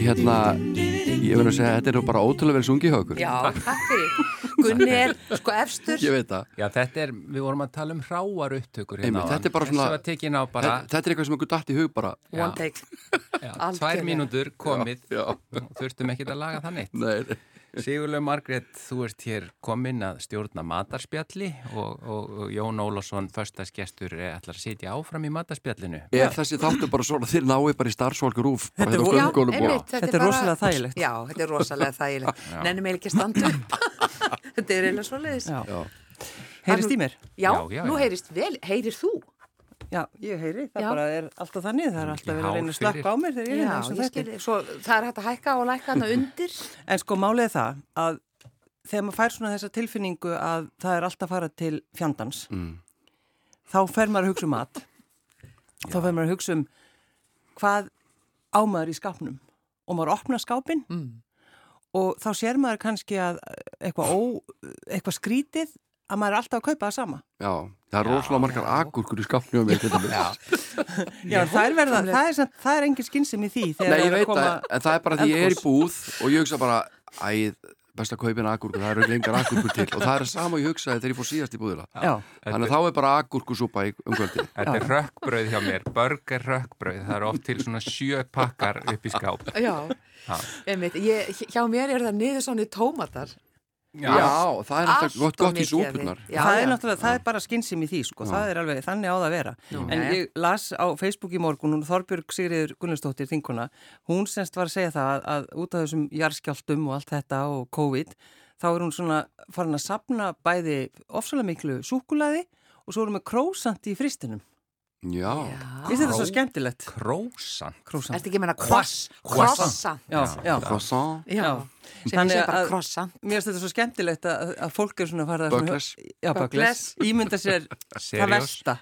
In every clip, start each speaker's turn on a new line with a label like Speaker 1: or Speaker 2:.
Speaker 1: Hérna, ég verður að segja, þetta er nú bara ótrúlega vel sungið hjá okkur.
Speaker 2: Já, takk fyrir Gunni er sko efstur
Speaker 1: Ég veit það.
Speaker 3: Já, þetta er, við vorum að tala um hráar upptökur hérna
Speaker 1: Einmitt, þetta er bara
Speaker 3: Þessu
Speaker 1: svona-
Speaker 3: var tekin á bara
Speaker 1: Þetta þetta er eitthvað sem okkur datt í hug bara.
Speaker 2: One take
Speaker 3: já,
Speaker 2: algjörlega.
Speaker 3: tvær mínútur komið
Speaker 1: Já,
Speaker 3: Þurftum ekkit að laga það neitt
Speaker 1: Nei, nei.
Speaker 3: Sigurlega Margrét, þú ert hér komin að stjórna matarspjalli og, og, og Jón Ólásson, förstaskestur, ætlar að sitja áfram í matarspjallinu.
Speaker 1: Er þessi þáttu bara svona, þeir náðu bara í starfsvolku rúf, bara hérna á
Speaker 2: Já,
Speaker 1: göngunum og...
Speaker 2: einmitt,
Speaker 4: Þetta er rosalega þægilegt.
Speaker 2: Já, þetta er rosalega þægilegt Nenni mig ekki að standa upp Þetta er eiginlega svoleiðis
Speaker 4: Já.
Speaker 1: Já.
Speaker 4: Heyrist í mér?
Speaker 2: Já,
Speaker 3: Já, já,
Speaker 2: nú
Speaker 3: já.
Speaker 2: heyrist vel, heyrir þú
Speaker 4: Já, ég heyri, það
Speaker 2: Já.
Speaker 4: bara er alltaf þannig, það er alltaf verið að reyna að
Speaker 3: Hár fyrir.
Speaker 4: slakka á mér þegar ég er
Speaker 2: Já,
Speaker 4: eins og
Speaker 2: ég
Speaker 4: þetta.
Speaker 2: skilji Svo það er hægt að hækka og lækka hana undir
Speaker 4: En sko málið er það að þegar maður fær svona þessa tilfinningu að það er alltaf að fara til fjandans, þá fer maður að hugsa um mat. Þá fer maður að hugsa um hvað ámaður í skápnum og maður opnar skápin
Speaker 2: Mm.
Speaker 4: og þá sér maður kannski að eitthvað, ó, eitthvað skrítið að maður er alltaf að kaupa það sama.
Speaker 1: Já, það er rosalega margar agurkur í skapnum mér. til dæmis.
Speaker 4: Já, það er, verða, það, er, samt- það er engin skynsum í því þegar
Speaker 1: Nei,
Speaker 4: það
Speaker 1: ég
Speaker 4: er að
Speaker 1: veit
Speaker 4: koma...
Speaker 1: það, en það er bara því ég er í
Speaker 4: eldgos.
Speaker 1: búð og ég hugsa bara, æ, best að kaupina agurkur, það eru lengar agurkur til og það er sama og ég hugsaði þegar ég fór síðast í búðila.
Speaker 4: Já,
Speaker 1: Þannig að þá er bara agurkusúpa í um umkvöldi.
Speaker 3: Þetta er rökkbröð hjá mér, burger rökkbröð, það er oft til svona sjö pakkar upp í skáp.
Speaker 2: Já, einmitt ég, Hjá mér er það niður svona tómatar
Speaker 1: Já, það er alltaf
Speaker 2: Allt
Speaker 1: gott, gott
Speaker 2: of
Speaker 1: í
Speaker 2: mikið af
Speaker 1: súpunar.
Speaker 2: því. Já,
Speaker 4: það er
Speaker 2: já.
Speaker 4: náttúrulega, það er bara skynsum í því sko, það er alveg, þannig á það að vera en
Speaker 2: Jæja.
Speaker 4: ég las á Facebook í morgun hún Þorbjörg Sigriður Gunnarsdóttir þinkuna, hún semst var að segja það að, að út af þessum jarskjáltum og allt þetta og COVID, þá er hún svona farin að sapna bæði ofsalega miklu súkulaði og svo erum við krósant í fristinum
Speaker 1: Já,
Speaker 4: Mér finnst þetta svo skemmtilegt?
Speaker 3: Krósan.
Speaker 4: Krósant,
Speaker 2: Ertu ekki að menna kross, krossa
Speaker 4: já, já,
Speaker 1: croissant,
Speaker 2: Já, sem ég
Speaker 4: Þannig
Speaker 2: segi bara
Speaker 4: að-
Speaker 2: krossa
Speaker 4: Mér finnst þetta svo skemmtilegt að, að fólk er svona farið að svona-
Speaker 1: Böggles.
Speaker 4: Já, bögles
Speaker 2: Böggles.
Speaker 4: Ímynda sér það
Speaker 3: Seriós?
Speaker 4: versta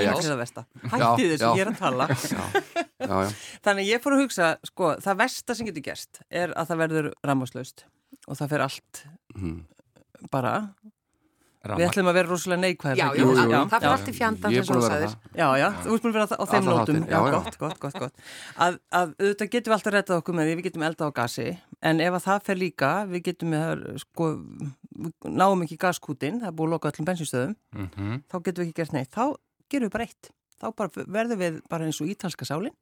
Speaker 1: Ajax.
Speaker 4: Það versta. Hætti
Speaker 1: Já,
Speaker 4: þessu,
Speaker 1: já.
Speaker 4: ég er að tala
Speaker 1: já, já.
Speaker 4: Þannig að ég fór að hugsa, sko, það versta sem getur gerst er að það verður rammaslaust og það fer allt
Speaker 1: Mhm.
Speaker 4: bara. Við ætlum að vera rosalega neikvæðir.
Speaker 2: Já,
Speaker 4: ekki?
Speaker 2: já,
Speaker 1: Jú, jú,
Speaker 2: já,
Speaker 1: jú.
Speaker 2: það fyrir
Speaker 4: já.
Speaker 2: allt í fjandans
Speaker 1: Ég er
Speaker 2: eins og
Speaker 1: búin
Speaker 2: þú
Speaker 1: að vera
Speaker 2: sagðir
Speaker 1: það.
Speaker 4: Já, já, þú ert búin að vera á þeim
Speaker 1: Allan
Speaker 4: nótum.
Speaker 1: háttinn,
Speaker 4: Já,
Speaker 1: já, já.
Speaker 4: gott, gott, gott, gott. Að, að auðvitað getum við alltaf að rettað okkur með því, við getum eldað á gasi, en ef að það fer líka, við getum með, sko, við náum ekki gaskútin, það er búið að loka öllum bensinstöðum, þá getum við ekki gert neitt. Þá gerum við bara eitt. Þá bara verðum við bara eins og ítalska sálinn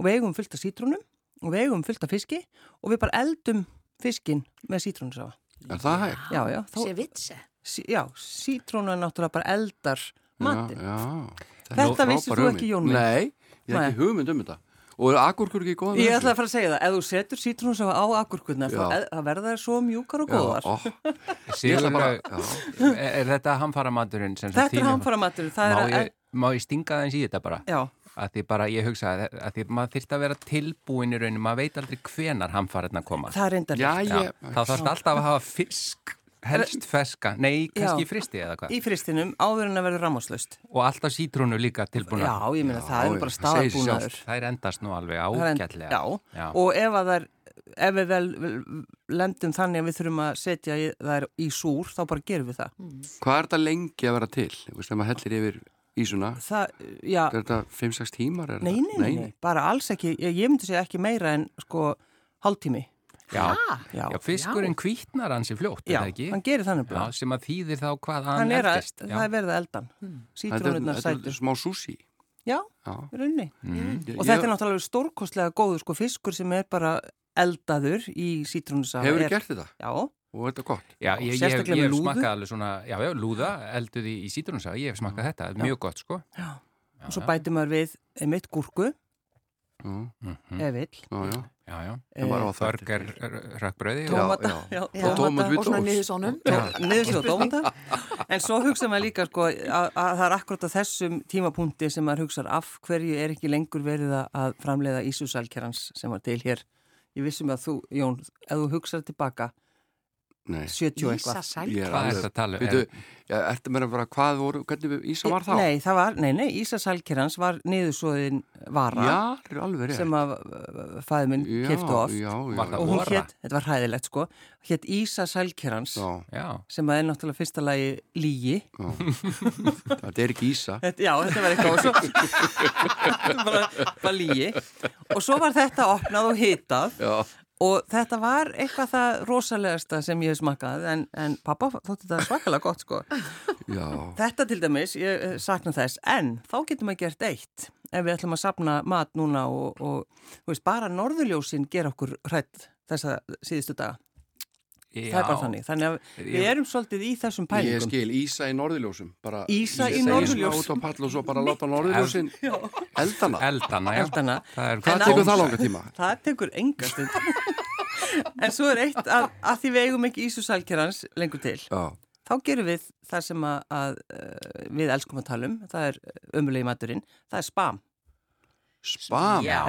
Speaker 4: og við eigum fullt af sítrúnum og við eigum fullt af fiski og við bara eldum fiskin með sítrúnsafa.
Speaker 1: Er það hægt?
Speaker 4: Já, já, þá,
Speaker 2: Sér vitsi
Speaker 4: sí, já, sítrúnan náttúrulega bara eldar matinn.
Speaker 1: Já, já.
Speaker 4: Þetta
Speaker 1: er
Speaker 4: vissir
Speaker 1: frábær
Speaker 4: þú
Speaker 1: hugmynd.
Speaker 4: ekki, Jón minn.
Speaker 1: Nei, ég er
Speaker 4: Nei.
Speaker 1: ekki hugmynd um þetta. Og er agurkur ekki góð?
Speaker 4: Ég ætla að fara að segja það, ef þú setur sítrónsafa á agurkurnar þá
Speaker 1: Já.
Speaker 4: eð- þá verða þær svo mjúkar og góðar.
Speaker 1: Ó, ég ætla bara,
Speaker 3: Sigurlega,
Speaker 1: já,
Speaker 3: er, er þetta hamfara maturinn?
Speaker 4: Þetta er hamfara matur, það
Speaker 3: Má
Speaker 4: er að,
Speaker 3: ég, má ég stinga það eins í þetta bara?
Speaker 4: já,
Speaker 3: Að því bara, ég hugsa að, að því maður þyrst að vera tilbúin í rauninu, maður veit aldrei hvenar hamfararna koma.
Speaker 4: það er reyndar
Speaker 1: já,
Speaker 4: rétt.
Speaker 3: Já,
Speaker 1: ég,
Speaker 3: þá þarfst alltaf að hafa fisk, helst feska, nei, kannski
Speaker 4: Já.
Speaker 3: í fristi eða hvað.
Speaker 4: í fristinum áður en að verður rammáslaust.
Speaker 3: Og alltaf sítrúnu líka tilbúna.
Speaker 4: Já, ég meina það
Speaker 1: já,
Speaker 4: eru
Speaker 1: það
Speaker 4: bara
Speaker 1: segir sig
Speaker 4: staðbúnaður.
Speaker 3: Þær endast nú alveg
Speaker 4: Það er en-
Speaker 3: ágætlega.
Speaker 4: Já, og ef að þær, ef við vel, vel lendum þannig að við þurfum að setja í- þær í súr, þá bara gerum við það.
Speaker 1: hvað er þetta lengi að vera til? Þú veist, þegar maður hellir yfir ísuna,
Speaker 4: Það, já,
Speaker 1: er þetta 5-6 tímar? er
Speaker 4: nei,
Speaker 1: þetta?
Speaker 4: nei, nei, nei, bara alls ekki, ég, ég myndi segja ekki meira en sko hálftími.
Speaker 3: Já,
Speaker 4: Já,
Speaker 3: já fiskurinn hvítnar hansi fljótt, er
Speaker 4: já,
Speaker 3: það ekki?
Speaker 4: hann gerir þannig
Speaker 3: Já,
Speaker 4: bara.
Speaker 3: sem að þýðir þá hvað
Speaker 4: hann
Speaker 3: hann
Speaker 4: er að,
Speaker 3: eldist.
Speaker 4: það er verið að eldan
Speaker 1: Þetta er-
Speaker 4: sítrónurnar
Speaker 1: Hmm. Þetta
Speaker 4: sætur
Speaker 1: er smá sushi.
Speaker 4: já,
Speaker 1: Já.
Speaker 4: í rauninni
Speaker 3: Mm.
Speaker 1: Ég-
Speaker 4: og
Speaker 1: ég-
Speaker 4: þetta er náttúrulega stórkostlega góður sko fiskur sem er bara eldaður í sítrónusafa
Speaker 1: Hefurðu
Speaker 4: er-
Speaker 1: gert þetta?
Speaker 4: já,
Speaker 1: Og er þetta gott?
Speaker 3: Já, ég, ég,
Speaker 4: sérstaklega
Speaker 3: ég
Speaker 4: með
Speaker 3: hef
Speaker 4: lúðu.
Speaker 3: smakað alveg svona, já, já, lúða elduð í, í sítrunsa, ég hef smakað þetta, já. mjög gott, sko.
Speaker 4: og svo bætir maður við einmitt gúrku
Speaker 1: Hmm.
Speaker 4: ef vill
Speaker 1: Já, já.
Speaker 3: mhm, Já, já,
Speaker 4: Eh,
Speaker 1: Það var á þörg.
Speaker 3: þörgar rökkbröði og
Speaker 4: tómata,
Speaker 1: já.
Speaker 4: já,
Speaker 2: Já.
Speaker 1: Og tómat
Speaker 4: tómata
Speaker 1: við
Speaker 2: Og svona
Speaker 1: dós.
Speaker 2: niður svonum
Speaker 4: niðurstu og tómata en svo hugsa maður líka sko að, að það er akkurat á þessum tímapunkti sem maður hugsa af hverju er ekki lengur verið að- að framleiða Ísusalkerans sem var til hér ég vissum að þú, Jón, ef þú hugsaði tilbaka
Speaker 1: Nei,
Speaker 4: 70 og
Speaker 1: ég
Speaker 2: Ísa
Speaker 4: eitthvað.
Speaker 2: sæl
Speaker 1: er
Speaker 3: Hvað er
Speaker 1: alveg
Speaker 3: þetta að tala um?
Speaker 1: Veitu, ja, ertu meira bara hvað voru, hvernig við- Ísa var þá?
Speaker 4: Nei, það var, nei, nei, Ísa Salkerans var niðursóðin vara
Speaker 1: Já, er alveg rétt
Speaker 4: sem að fæði minn
Speaker 1: Já,
Speaker 4: keftu oft
Speaker 1: Já, já,
Speaker 3: Var það
Speaker 4: og hún
Speaker 3: Vara?
Speaker 4: hétt, þetta var hræðilegt sko, hétt Ísa Salkerans
Speaker 1: já,
Speaker 3: Já,
Speaker 4: sem að er náttúrulega fyrsta lagi lígi.
Speaker 1: já. Þetta er ekki Ísa
Speaker 4: Þetta, já, þetta var eitthvað og svo bara, bara lígi. Og svo var þetta opnað og hitað
Speaker 1: Já,
Speaker 4: og þetta var eitthvað það rosalegasta sem ég hef smakkað en, en pappa þótti þetta svakalega gott sko.
Speaker 1: já,
Speaker 4: Þetta til dæmis, ég eh, sakna þess, en þá getum við gert eitt ef við ætlum að sapna mat núna og, og þú veist, bara norðurljósin ger okkur hrætt þessa síðustu daga. Það er bara þannig. Þannig að við
Speaker 3: Ég-
Speaker 4: erum svolítið í þessum
Speaker 1: ég
Speaker 4: pælingum.
Speaker 1: skil Ísa í norðiljósum bara,
Speaker 4: Ísa í
Speaker 1: Ísa
Speaker 4: norðurljós.
Speaker 1: út á pall og svo bara láta norðiljósin eldana
Speaker 3: Eldana, já.
Speaker 4: Eldana.
Speaker 3: Það er
Speaker 4: En
Speaker 1: Hvað
Speaker 4: á-
Speaker 1: tekur það langa tíma?
Speaker 4: Það tekur enga stund. en svo er eitt að, að því við eigum ekki Ísusalkerans lengur til.
Speaker 1: Já,
Speaker 4: Þá gerum við það sem að, að eh, við elskum að tala um, það er ömulegi maturinn, það er spam.
Speaker 1: spam
Speaker 2: Já.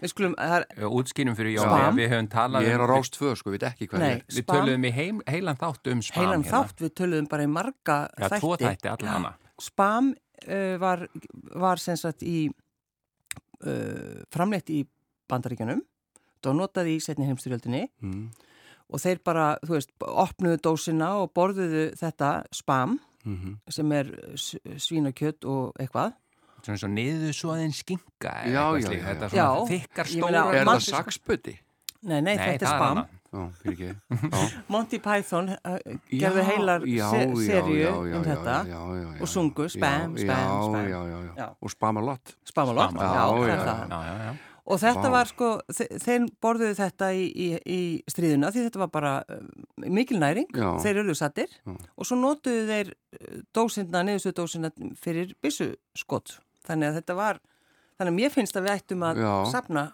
Speaker 4: Við skulum, það er,
Speaker 3: Útskýrum fyrir Jóni
Speaker 4: Spam.
Speaker 3: að við höfum talað
Speaker 1: Ég er á
Speaker 3: um-
Speaker 1: rást tvö, sko, við veit ekki hvað
Speaker 4: Nei.
Speaker 1: er
Speaker 3: Við
Speaker 4: Spam.
Speaker 3: töluðum í heim, heilan þátt um spam
Speaker 4: heilan
Speaker 3: hérna.
Speaker 4: þátt, við töluðum bara í marga
Speaker 3: Já,
Speaker 4: þætti.
Speaker 3: tvo þætti allan
Speaker 4: Spam uh, var, var sem sagt í uh, framleitt í bandaríkjanum og notaði í setni heimstyrjöldinni
Speaker 1: Mm,
Speaker 4: og þeir bara, þú veist, opnuðu dósina og borðuðu þetta spam
Speaker 1: mhm.
Speaker 4: sem er eh, s- svínakjöt og eitthvað.
Speaker 3: Svona svo niður svo aðeins skinka eða
Speaker 1: Já,
Speaker 3: eitthvað
Speaker 1: já,
Speaker 3: slíkt.
Speaker 1: já, já.
Speaker 3: Þetta er svona
Speaker 4: Já.
Speaker 3: þykkar
Speaker 4: Ég meina-
Speaker 3: stóra
Speaker 1: Er það
Speaker 4: Manstu-
Speaker 1: saksputti?
Speaker 4: Nei, nei, þetta er
Speaker 3: það
Speaker 4: spam.
Speaker 3: annað.
Speaker 1: Já, fyrir ekki Já
Speaker 4: Monty Python uh,
Speaker 1: Já,
Speaker 4: gerði heilar
Speaker 1: já,
Speaker 4: se
Speaker 1: já,
Speaker 4: serju
Speaker 1: já, já, já,
Speaker 4: um þetta.
Speaker 1: já, já, já, já.
Speaker 4: og sungu spam,
Speaker 1: Já,
Speaker 4: spam,
Speaker 1: já,
Speaker 4: spam.
Speaker 1: já, já, já.
Speaker 4: Já.
Speaker 1: og spama lot
Speaker 3: Spamalot.
Speaker 4: Spamalot, já,
Speaker 1: Já,
Speaker 4: það
Speaker 1: já,
Speaker 4: er það.
Speaker 3: Já, já, já.
Speaker 4: Og þetta
Speaker 1: Vá.
Speaker 4: var sko, þe- þeir borðuðu þetta í, í, í stríðuna því þetta var bara uh, mikil næring,
Speaker 1: Já.
Speaker 4: þeir eru sattir
Speaker 1: Já.
Speaker 4: og svo notuðu þeir eh, dósindna, niðurstu dósindna fyrir byssuskott. Þannig að þetta var, þannig að mér finnst að við ættum að
Speaker 1: Já.
Speaker 4: sapna,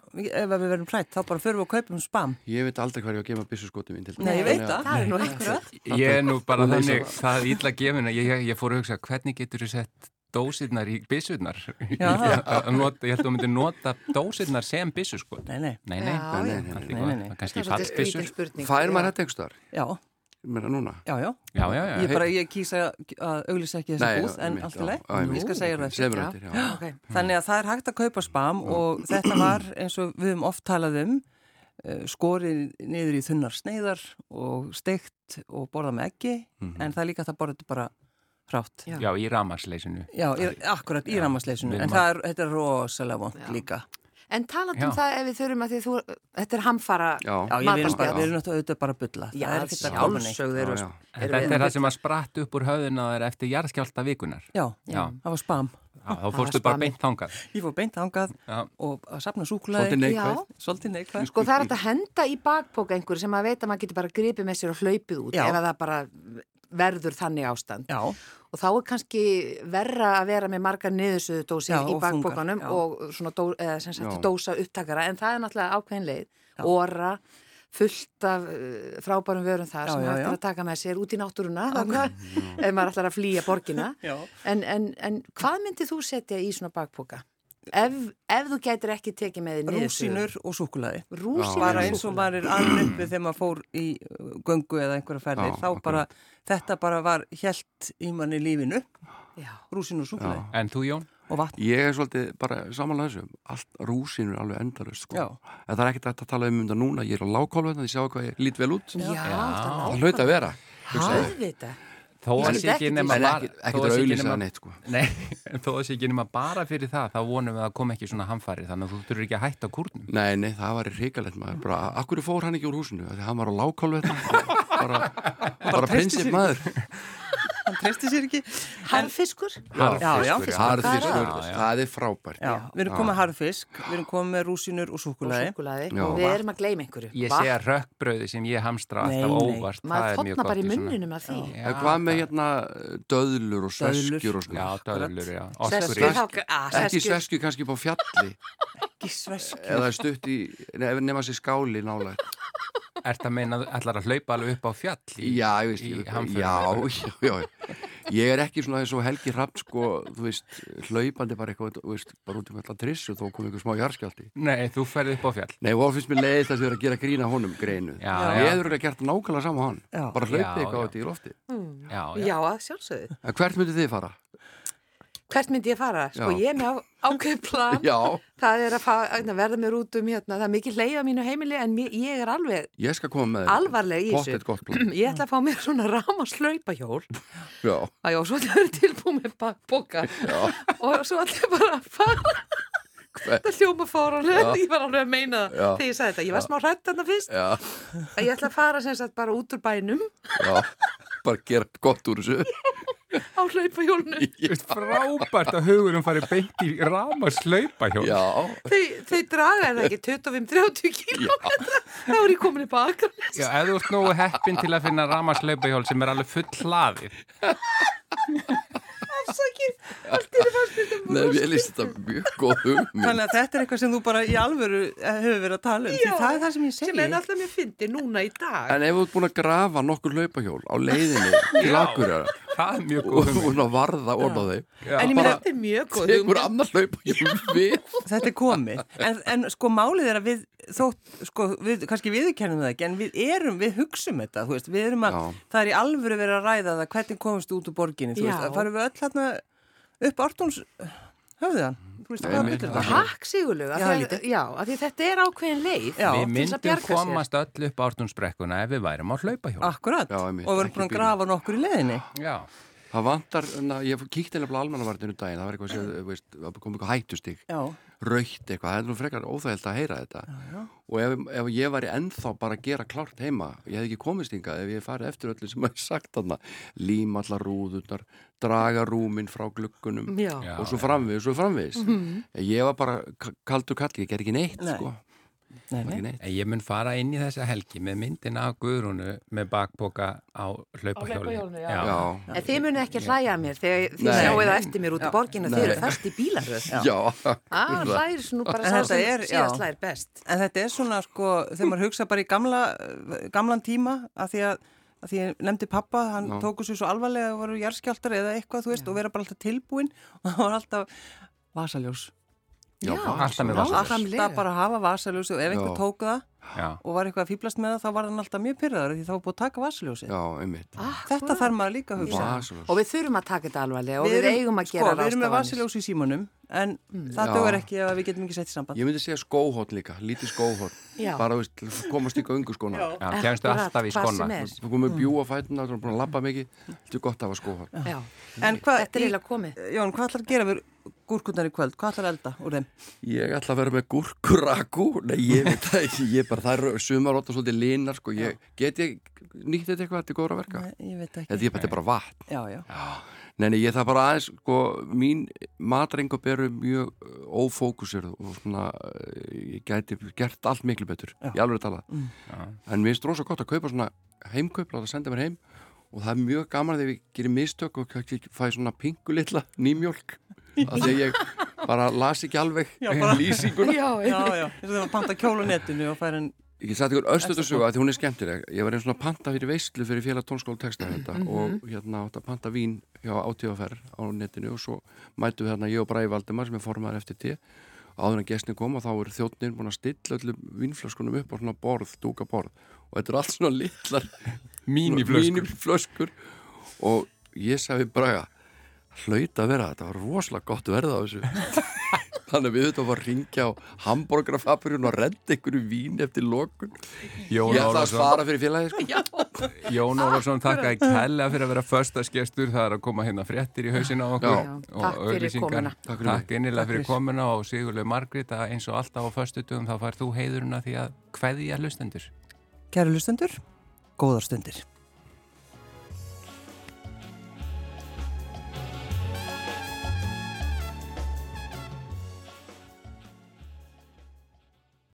Speaker 4: ef að við verum hrætt, þá bara förum við og kaupum spam.
Speaker 1: ég veit aldrei hvað ég á að gema byssuskoti mín til
Speaker 4: Nei, ég veit
Speaker 1: Þannig
Speaker 4: það.
Speaker 2: Það er nú eitthvað
Speaker 3: Ég er nú bara
Speaker 1: Og leysa
Speaker 3: þannig,
Speaker 1: það.
Speaker 3: það er illa gefin að ég, ég fór að hugsa hvernig getur þú sett dósirnar í byssurnar? Ég
Speaker 4: Já.
Speaker 3: að nota- ég held að þú myndir nota dósirnar sem byssur sko. Nei,
Speaker 4: Nei, nei,
Speaker 3: nei,
Speaker 1: að-
Speaker 2: Já,
Speaker 1: Nei,
Speaker 2: já.
Speaker 1: nei, nei.
Speaker 3: allt í
Speaker 4: Nei,
Speaker 3: góðu.
Speaker 4: nei, nei.
Speaker 3: Það
Speaker 2: Það
Speaker 3: er kannski
Speaker 2: er svolítið skrítin
Speaker 3: fallbyssur.
Speaker 2: spurning
Speaker 1: fær
Speaker 2: Já.
Speaker 1: maður þetta einhver staðar
Speaker 4: já,
Speaker 1: meira núna
Speaker 4: já, já.
Speaker 3: Já, já, já.
Speaker 4: Ég bara, ég kýsa að auglýsa ekki þessi
Speaker 1: Nei,
Speaker 4: búð, en
Speaker 1: einmitt,
Speaker 4: allt
Speaker 1: já,
Speaker 4: í leið,
Speaker 1: já, einmitt.
Speaker 4: ég skal segja þér það
Speaker 1: Segðu mér
Speaker 2: Já.
Speaker 1: eftir, já.
Speaker 2: Ok.
Speaker 4: Þannig að það er hægt að kaupa spam og þetta var eins og við höfum oft talað um eh, skorið niður í þunnar sneiðar og steikt og borða með ekki en það er líka hægt að borða þetta bara frátt.
Speaker 2: Já.
Speaker 3: Já, í ramarsleysinu.
Speaker 4: Já, í, akkurat í ramasleysinu,
Speaker 3: við
Speaker 4: en
Speaker 3: erum
Speaker 4: það er, þetta er rosalega vond
Speaker 2: Já.
Speaker 4: líka.
Speaker 2: En talandum
Speaker 3: Já.
Speaker 2: það ef við þurfum að því þú, þetta er hamfara
Speaker 1: Já.
Speaker 4: Já, ég verðum bara,
Speaker 2: matarspjall.
Speaker 4: við erum náttúrulega auðvitað bara að bulla.
Speaker 2: Já,
Speaker 4: það er ekkert að koma neitt.
Speaker 2: sjálfsögðu eru
Speaker 1: Já, já.
Speaker 2: eru
Speaker 3: Þetta
Speaker 2: við-
Speaker 3: er það sem að spratt upp úr höfðuna þær eftir jarðskjálta vikunar.
Speaker 4: Já,
Speaker 3: Já.
Speaker 4: það var spam.
Speaker 3: Já, Þá fórstu bara beint þangað.
Speaker 4: Ég fór beint þangað
Speaker 3: Já.
Speaker 4: og að safna
Speaker 1: Svolítið
Speaker 4: súkulaði,
Speaker 1: neikvæð.
Speaker 4: svolítið neikvæð.
Speaker 2: Sko það er hægt að henda í bakpók einhverju sem að veit að maður getur bara gripið með sér og hlaupið út
Speaker 4: Já.
Speaker 2: ef að það bara verður þannig ástand.
Speaker 4: Já,
Speaker 2: Og þá er kannski verra að vera með margar niðursöðu
Speaker 4: Já,
Speaker 2: í
Speaker 4: og
Speaker 2: bakpókanum
Speaker 4: þungar, já.
Speaker 2: og svona dó, eða, sem sagt,
Speaker 1: Já.
Speaker 2: dósa upptakara en það er náttúrulega ákveðin leið. Óra, fullt af uh, frábærum vörum þar
Speaker 4: Já,
Speaker 2: sem
Speaker 4: já,
Speaker 2: hægt
Speaker 4: já.
Speaker 2: er að taka með sér út í náttúruna þannig, ef maður ætlar að flýja borgina.
Speaker 4: Já.
Speaker 2: en, en, en hvað myndir þú setja í svona bakpóka? Ef, ef þú gætir ekki tekið með þér niðursöðu?
Speaker 4: rúsinur og súkulaði.
Speaker 2: Rúsínur.
Speaker 4: bara eins og maður er alveg uppið þegar maður fór í uh, göngu eða einhverja ferðir,
Speaker 1: Já,
Speaker 4: þá bara þetta bara var hjælt í manni lífinu
Speaker 2: Já.
Speaker 4: rúsin og súklaði
Speaker 3: En þú Jón?
Speaker 4: og vatn
Speaker 1: ég er svolítið bara samanlega þessu allt rúsinu er alveg endalust sko.
Speaker 4: Já.
Speaker 1: en það er ekkert hægt að tala um um þetta núna ég er á lágkálvöðna, því sjáu hvað ég lít vel út
Speaker 2: Já,
Speaker 1: það
Speaker 2: það
Speaker 1: hlaut að vera hugsaði ég.
Speaker 2: Hæðvita.
Speaker 3: Þó
Speaker 2: Ég
Speaker 3: að
Speaker 2: get
Speaker 3: sé ekki
Speaker 2: ekkert í
Speaker 3: nema
Speaker 1: en
Speaker 3: var-
Speaker 1: ekkert
Speaker 3: þó
Speaker 1: ekkert
Speaker 3: að
Speaker 1: að
Speaker 3: sé ekki
Speaker 1: auðlýsa
Speaker 3: nema-
Speaker 1: neitt sko.
Speaker 3: Nei, en þó að sé ekki nema bara fyrir það, þá vonum við að koma ekki svona hamfarið, þannig að þú þurfur ekki að hætta á kúrnum.
Speaker 1: Nei, nei, það var hrikalegt maður bara, akkur fór hann ekki úr húsinu, Af því hann var á lágkálvöðna bara, bara prinsip maður
Speaker 4: hann treysti sér ekki
Speaker 2: Harfiskur?
Speaker 4: Já, já,
Speaker 1: Harðfiskur,
Speaker 4: fiskur.
Speaker 1: harðfiskur,
Speaker 3: Já, já.
Speaker 1: það er frábært
Speaker 4: já, við erum komið harfisk, við erum komið með rúsinur og súkulaði
Speaker 2: Súkulaði.
Speaker 1: Já.
Speaker 2: Við erum að gleyma einhverju.
Speaker 3: Ég
Speaker 2: Vatn.
Speaker 3: sé að rökkbröði sem ég hamstra
Speaker 4: Nei,
Speaker 3: alltaf
Speaker 4: nei.
Speaker 3: óvart, það
Speaker 2: Maður
Speaker 3: er mjög
Speaker 2: þotna
Speaker 3: gott.
Speaker 2: bara í
Speaker 3: svona-
Speaker 2: munninum að því.
Speaker 3: Já,
Speaker 1: En hvað með hérna döðlur og sveskjur
Speaker 4: Döðlur.
Speaker 1: og svona?
Speaker 3: Já, döðlur, já.
Speaker 2: Sveskjur,
Speaker 3: Oskurinn.
Speaker 2: þá- ah,
Speaker 1: Ekki
Speaker 2: sveskjur.
Speaker 1: sveskjur kannski upp á fjalli
Speaker 4: ekki svesk
Speaker 1: eða stutt í, nef- nema sér skáli nálega.
Speaker 3: Ert að meina, ætlar að hlaupa alveg upp á fjall? í-
Speaker 1: Já, ég veist,
Speaker 3: í
Speaker 1: ég, já,
Speaker 3: hamförum?
Speaker 1: já, já. ég er ekki svona eins og Helgi Rapp sko, þú veist, hlaupandi bara eitthvað, þú veist, bara út í alltaf triss og þó kom einhver smá jarskjaldi.
Speaker 3: Nei, þú ferði upp á fjall.
Speaker 1: Nei, og þá finnst mér leiðist að þið eru að gera grína honum greinu.
Speaker 3: Já,
Speaker 1: Ég
Speaker 3: já,
Speaker 1: hefur ekki gert nákvæmlega saman hann.
Speaker 4: Já.
Speaker 1: Bara hlaupið
Speaker 3: Já,
Speaker 1: eitthvað á
Speaker 3: já.
Speaker 1: þetta í lofti.
Speaker 3: já, já.
Speaker 2: Já, að sjálfsögðu.
Speaker 1: En hvert myndið þið fara?
Speaker 2: Hvert myndi ég fara? Sko,
Speaker 1: Já.
Speaker 2: ég er með á- ákveð plan.
Speaker 1: Já,
Speaker 2: Það er að, fa, að verða mér út um hérna. Það er mikið leið á mínu heimili en mér, ég er alveg
Speaker 1: ég skal koma með þér.
Speaker 2: alvarleg í
Speaker 1: Gott eitt
Speaker 2: þessu.
Speaker 1: gott plan.
Speaker 2: Ég ætla að fá mér svona rámaslaupahjól.
Speaker 1: Já,
Speaker 2: Æjá, svo ætla ég að vera tilbúið með bakboka
Speaker 1: já,
Speaker 2: og svo ætla ég bara að fara.
Speaker 1: Hver-
Speaker 2: Þetta hljóma fór og
Speaker 1: Já.
Speaker 2: ég var alveg að meina það
Speaker 1: Já.
Speaker 2: þegar ég sagði þetta. Ég var smá hrætt þarna fyrst
Speaker 1: já,
Speaker 2: að ég ætla að fara sem sagt bara út úr bænum
Speaker 1: já. Bara gera gott úr þessu.
Speaker 2: á hlaupahjólnu.
Speaker 3: Þú veist, frábært að hugurum farið beint í rama slaupa hjá.
Speaker 1: Já,
Speaker 2: Þau, þau draga er það ekki 25-30 kílómetra. Þá er ég komin upp á Akranes.
Speaker 3: Já, ef þú ert nógu heppin til að finna rama slaupahjól sem er alveg full hlaðið.
Speaker 2: Afsakið, allt er fannst mér þetta
Speaker 1: Nei, ég líst þetta mjög góð hugmynd.
Speaker 4: Þannig að þetta er eitthvað sem þú bara í alvöru eh, hefur verið að tala um, því
Speaker 2: Já.
Speaker 4: það er það sem ég
Speaker 2: sem
Speaker 4: segi.
Speaker 2: er alltaf mér fyndi núna í dag.
Speaker 1: En ef þú ert búin að grafa nokkur hlaupahjól á leiðinni til
Speaker 3: Já.
Speaker 1: akkurjara
Speaker 3: Það er mjög
Speaker 1: og
Speaker 3: góð
Speaker 1: hún að varða orða þeim,
Speaker 3: Já.
Speaker 4: En ég meina,
Speaker 2: Þetta er mjög góð
Speaker 1: tekur
Speaker 2: hugmynd.
Speaker 1: annar hlaupahjól við.
Speaker 4: þetta er komið. En, en sko málið er að við, þótt, sko, við, kannski viðurkennum það ekki, en við erum, við hugsum þetta, þú veist, við erum að,
Speaker 1: Já.
Speaker 4: það er í alvöru verið að ræða það, hvernig komumst þú út úr borginni, þú
Speaker 2: Já.
Speaker 4: veist, það farum við öll hérna upp Artúns höfðan, þú veist,
Speaker 1: Nei,
Speaker 4: hvað er
Speaker 1: mér-
Speaker 4: betur
Speaker 1: það-
Speaker 4: það?
Speaker 2: Takk sigurlega,
Speaker 4: Já,
Speaker 2: já,
Speaker 4: lítið.
Speaker 2: já, af því þetta er ákveðin leið
Speaker 4: Já.
Speaker 2: til þess
Speaker 3: Við
Speaker 2: að
Speaker 3: myndum
Speaker 2: bjarga sér.
Speaker 3: komast öll upp ártunnsbrekkuna ef við værum á hlaupahjól.
Speaker 4: Akkurat,
Speaker 1: Já,
Speaker 4: og
Speaker 1: einmitt,
Speaker 4: við
Speaker 1: ekki
Speaker 4: erum búin
Speaker 1: bílum.
Speaker 4: að grafa nokkur í leðinni.
Speaker 3: Já,
Speaker 1: Það vantar, na, ég kíkti nefnilega almannavartinu um daginn, það var eitthvað sem, þú veist, það kom eitthvað hættustig,
Speaker 4: Já,
Speaker 1: raukt eitthvað, það er nú frekar óþægilt að heyra þetta. Já, já. Og ef, ef ég væri ennþá bara að gera klárt heima, ég hef ekki komist hingað ef ég farið eftir öllu sem maður sagt þarna, líma allar rúðurnar, draga rúmin frá gluggunum,
Speaker 2: Já.
Speaker 3: Já.
Speaker 1: og svo framvegis, svo framvegis ég var bara k- kaldur kall, ég ger ekki neitt
Speaker 4: Nei.
Speaker 1: sko,
Speaker 4: nei,
Speaker 1: ekki
Speaker 4: nei.
Speaker 1: neitt
Speaker 3: En ég mun fara inn í þessa helgi með myndin af Guðrúnu með bakboka á hlaupahjóli.
Speaker 2: hlaupahjólinu, já.
Speaker 1: já,
Speaker 2: En þið munið ekki hlæja að mér þegar þið
Speaker 1: Nei.
Speaker 2: sjáu það eftir mér út í borginu þið eru
Speaker 1: Nei.
Speaker 2: fast í bílaröð.
Speaker 1: já,
Speaker 2: Ah, hlæris nú bara
Speaker 4: En
Speaker 2: sá
Speaker 4: þetta
Speaker 2: sem
Speaker 4: er-
Speaker 2: síðast
Speaker 4: já.
Speaker 2: hlæðir best.
Speaker 4: En þetta er svona sko, þegar maður hugsa bara í gamla, eh, gamlan tíma að því að, að því ég nefndi pappa, hann
Speaker 1: Já.
Speaker 4: tóku sér svo alvarlega að voru jarskjáltar eða eitthvað, þú veist, og vera bara alltaf tilbúin og það var alltaf vasaljós.
Speaker 1: já,
Speaker 2: Já,
Speaker 3: alltaf með
Speaker 1: vasaljós.
Speaker 2: vasaljós.
Speaker 4: Alltaf bara að hafa vasaljós og ef einhver
Speaker 1: Já.
Speaker 4: tók það
Speaker 3: Já,
Speaker 4: og var eitthvað að fýblast með það, þá var hann alltaf mjög pyrraður því það var búið að taka vasaljósið.
Speaker 1: já, einmitt
Speaker 4: Þetta þarf maður líka að hugsa.
Speaker 1: Vasaljós.
Speaker 2: Og við þurfum að taka þetta alvarlega og við,
Speaker 4: erum-
Speaker 2: eigum að
Speaker 4: sko,
Speaker 2: gera
Speaker 4: Við erum með
Speaker 2: ráðstafanir. Mm.
Speaker 4: vasaljós í símanum, en það
Speaker 1: Já.
Speaker 4: dögur ekki ef við getum ekki sett í samband.
Speaker 1: ég myndi segja skóhótt líka, lítið skóhótt
Speaker 2: Já.
Speaker 1: bara þú veist, til að komast ykkur ungu skona
Speaker 3: já kemstu
Speaker 2: Akkurat,
Speaker 3: alltaf í
Speaker 2: hvað sem
Speaker 3: skona.
Speaker 2: er. Mm.
Speaker 1: þú komið bjú á fætuna, þú er búin að labba mikið þetta er gott að hafa sko. skóhótt
Speaker 2: Já,
Speaker 4: En hvað,
Speaker 2: þetta er eiginlega komið.
Speaker 4: Jón, hvað ætlar að gera við gúrkunnar í kvöld? Hvað ætlar að elda úr þeim?
Speaker 1: ég ætla að vera með gúrkuraku nei, ég veit það ekki, ég bara það er sumarótt og svolítið linar sko, ég get ég nýtt þetta eitthvað, þetta er góður að verka
Speaker 4: Nei, Ég veit
Speaker 1: þetta
Speaker 4: ekki.
Speaker 1: er bara- þetta er bara vatn
Speaker 4: Já, já.
Speaker 1: Nei, nei, ég það bara aðeins, sko, mín matrengup eru mjög uh, ófókusir og svona, uh, ég gæti gert allt miklu betur, ég alveg tala.
Speaker 4: Mm.
Speaker 3: Já.
Speaker 1: En mér finnst rosa gott að kaupa svona heimkaup, láta senda mér heim og það er mjög gaman þegar ég gerir mistök og kannski fæ svona pingu litla nýmjólk. Af því að ég bara las ekki alveg
Speaker 4: Já, bara-
Speaker 1: lýsinguna.
Speaker 2: Já,
Speaker 4: Já, já. Þess að það var panta kjól á netinu og færa en...
Speaker 1: Ég satt ykkur östutusuga að því hún er skemmtileg. Ég var einn svona panta fyrir veistlu fyrir félag tónskóla texta þetta og hérna átt að panta vín hjá átíðaferð á netinu og svo mætum við hérna ég og Bræði Valdemar sem er formaður eftir tíð. Áður en gestin kom og þá er þjóttnin búin að stilla öllum vínflöskunum upp á svona borð, dúka borð og þetta er allt svona litlar
Speaker 3: Míniflöskur.
Speaker 1: míniflöskur. og ég sagði Bræða hlaut að vera þetta var rosalega gott verð á þessu. Þannig að við þetta var að ringja á hambúrgarfabrjun og renda einhverju vín eftir lokun
Speaker 3: Jón
Speaker 1: Ég ætla að
Speaker 3: Ólafsson,
Speaker 1: svara fyrir félagi sko.
Speaker 3: Jón Ólafsson þakkaði kella fyrir að vera föstaskestur, það er að koma hérna fréttir í hausin á okkur
Speaker 1: Já.
Speaker 3: og
Speaker 2: Takk fyrir
Speaker 3: auglýsingar.
Speaker 2: komuna.
Speaker 1: Takk fyrir mig.
Speaker 3: Takk innilega fyrir komuna og Sigurlega Margrét að eins og alltaf á föstudum þá fær þú heiðurinn að því að kveðja hlustendur.
Speaker 4: Kæru lustendur, góðar stundir.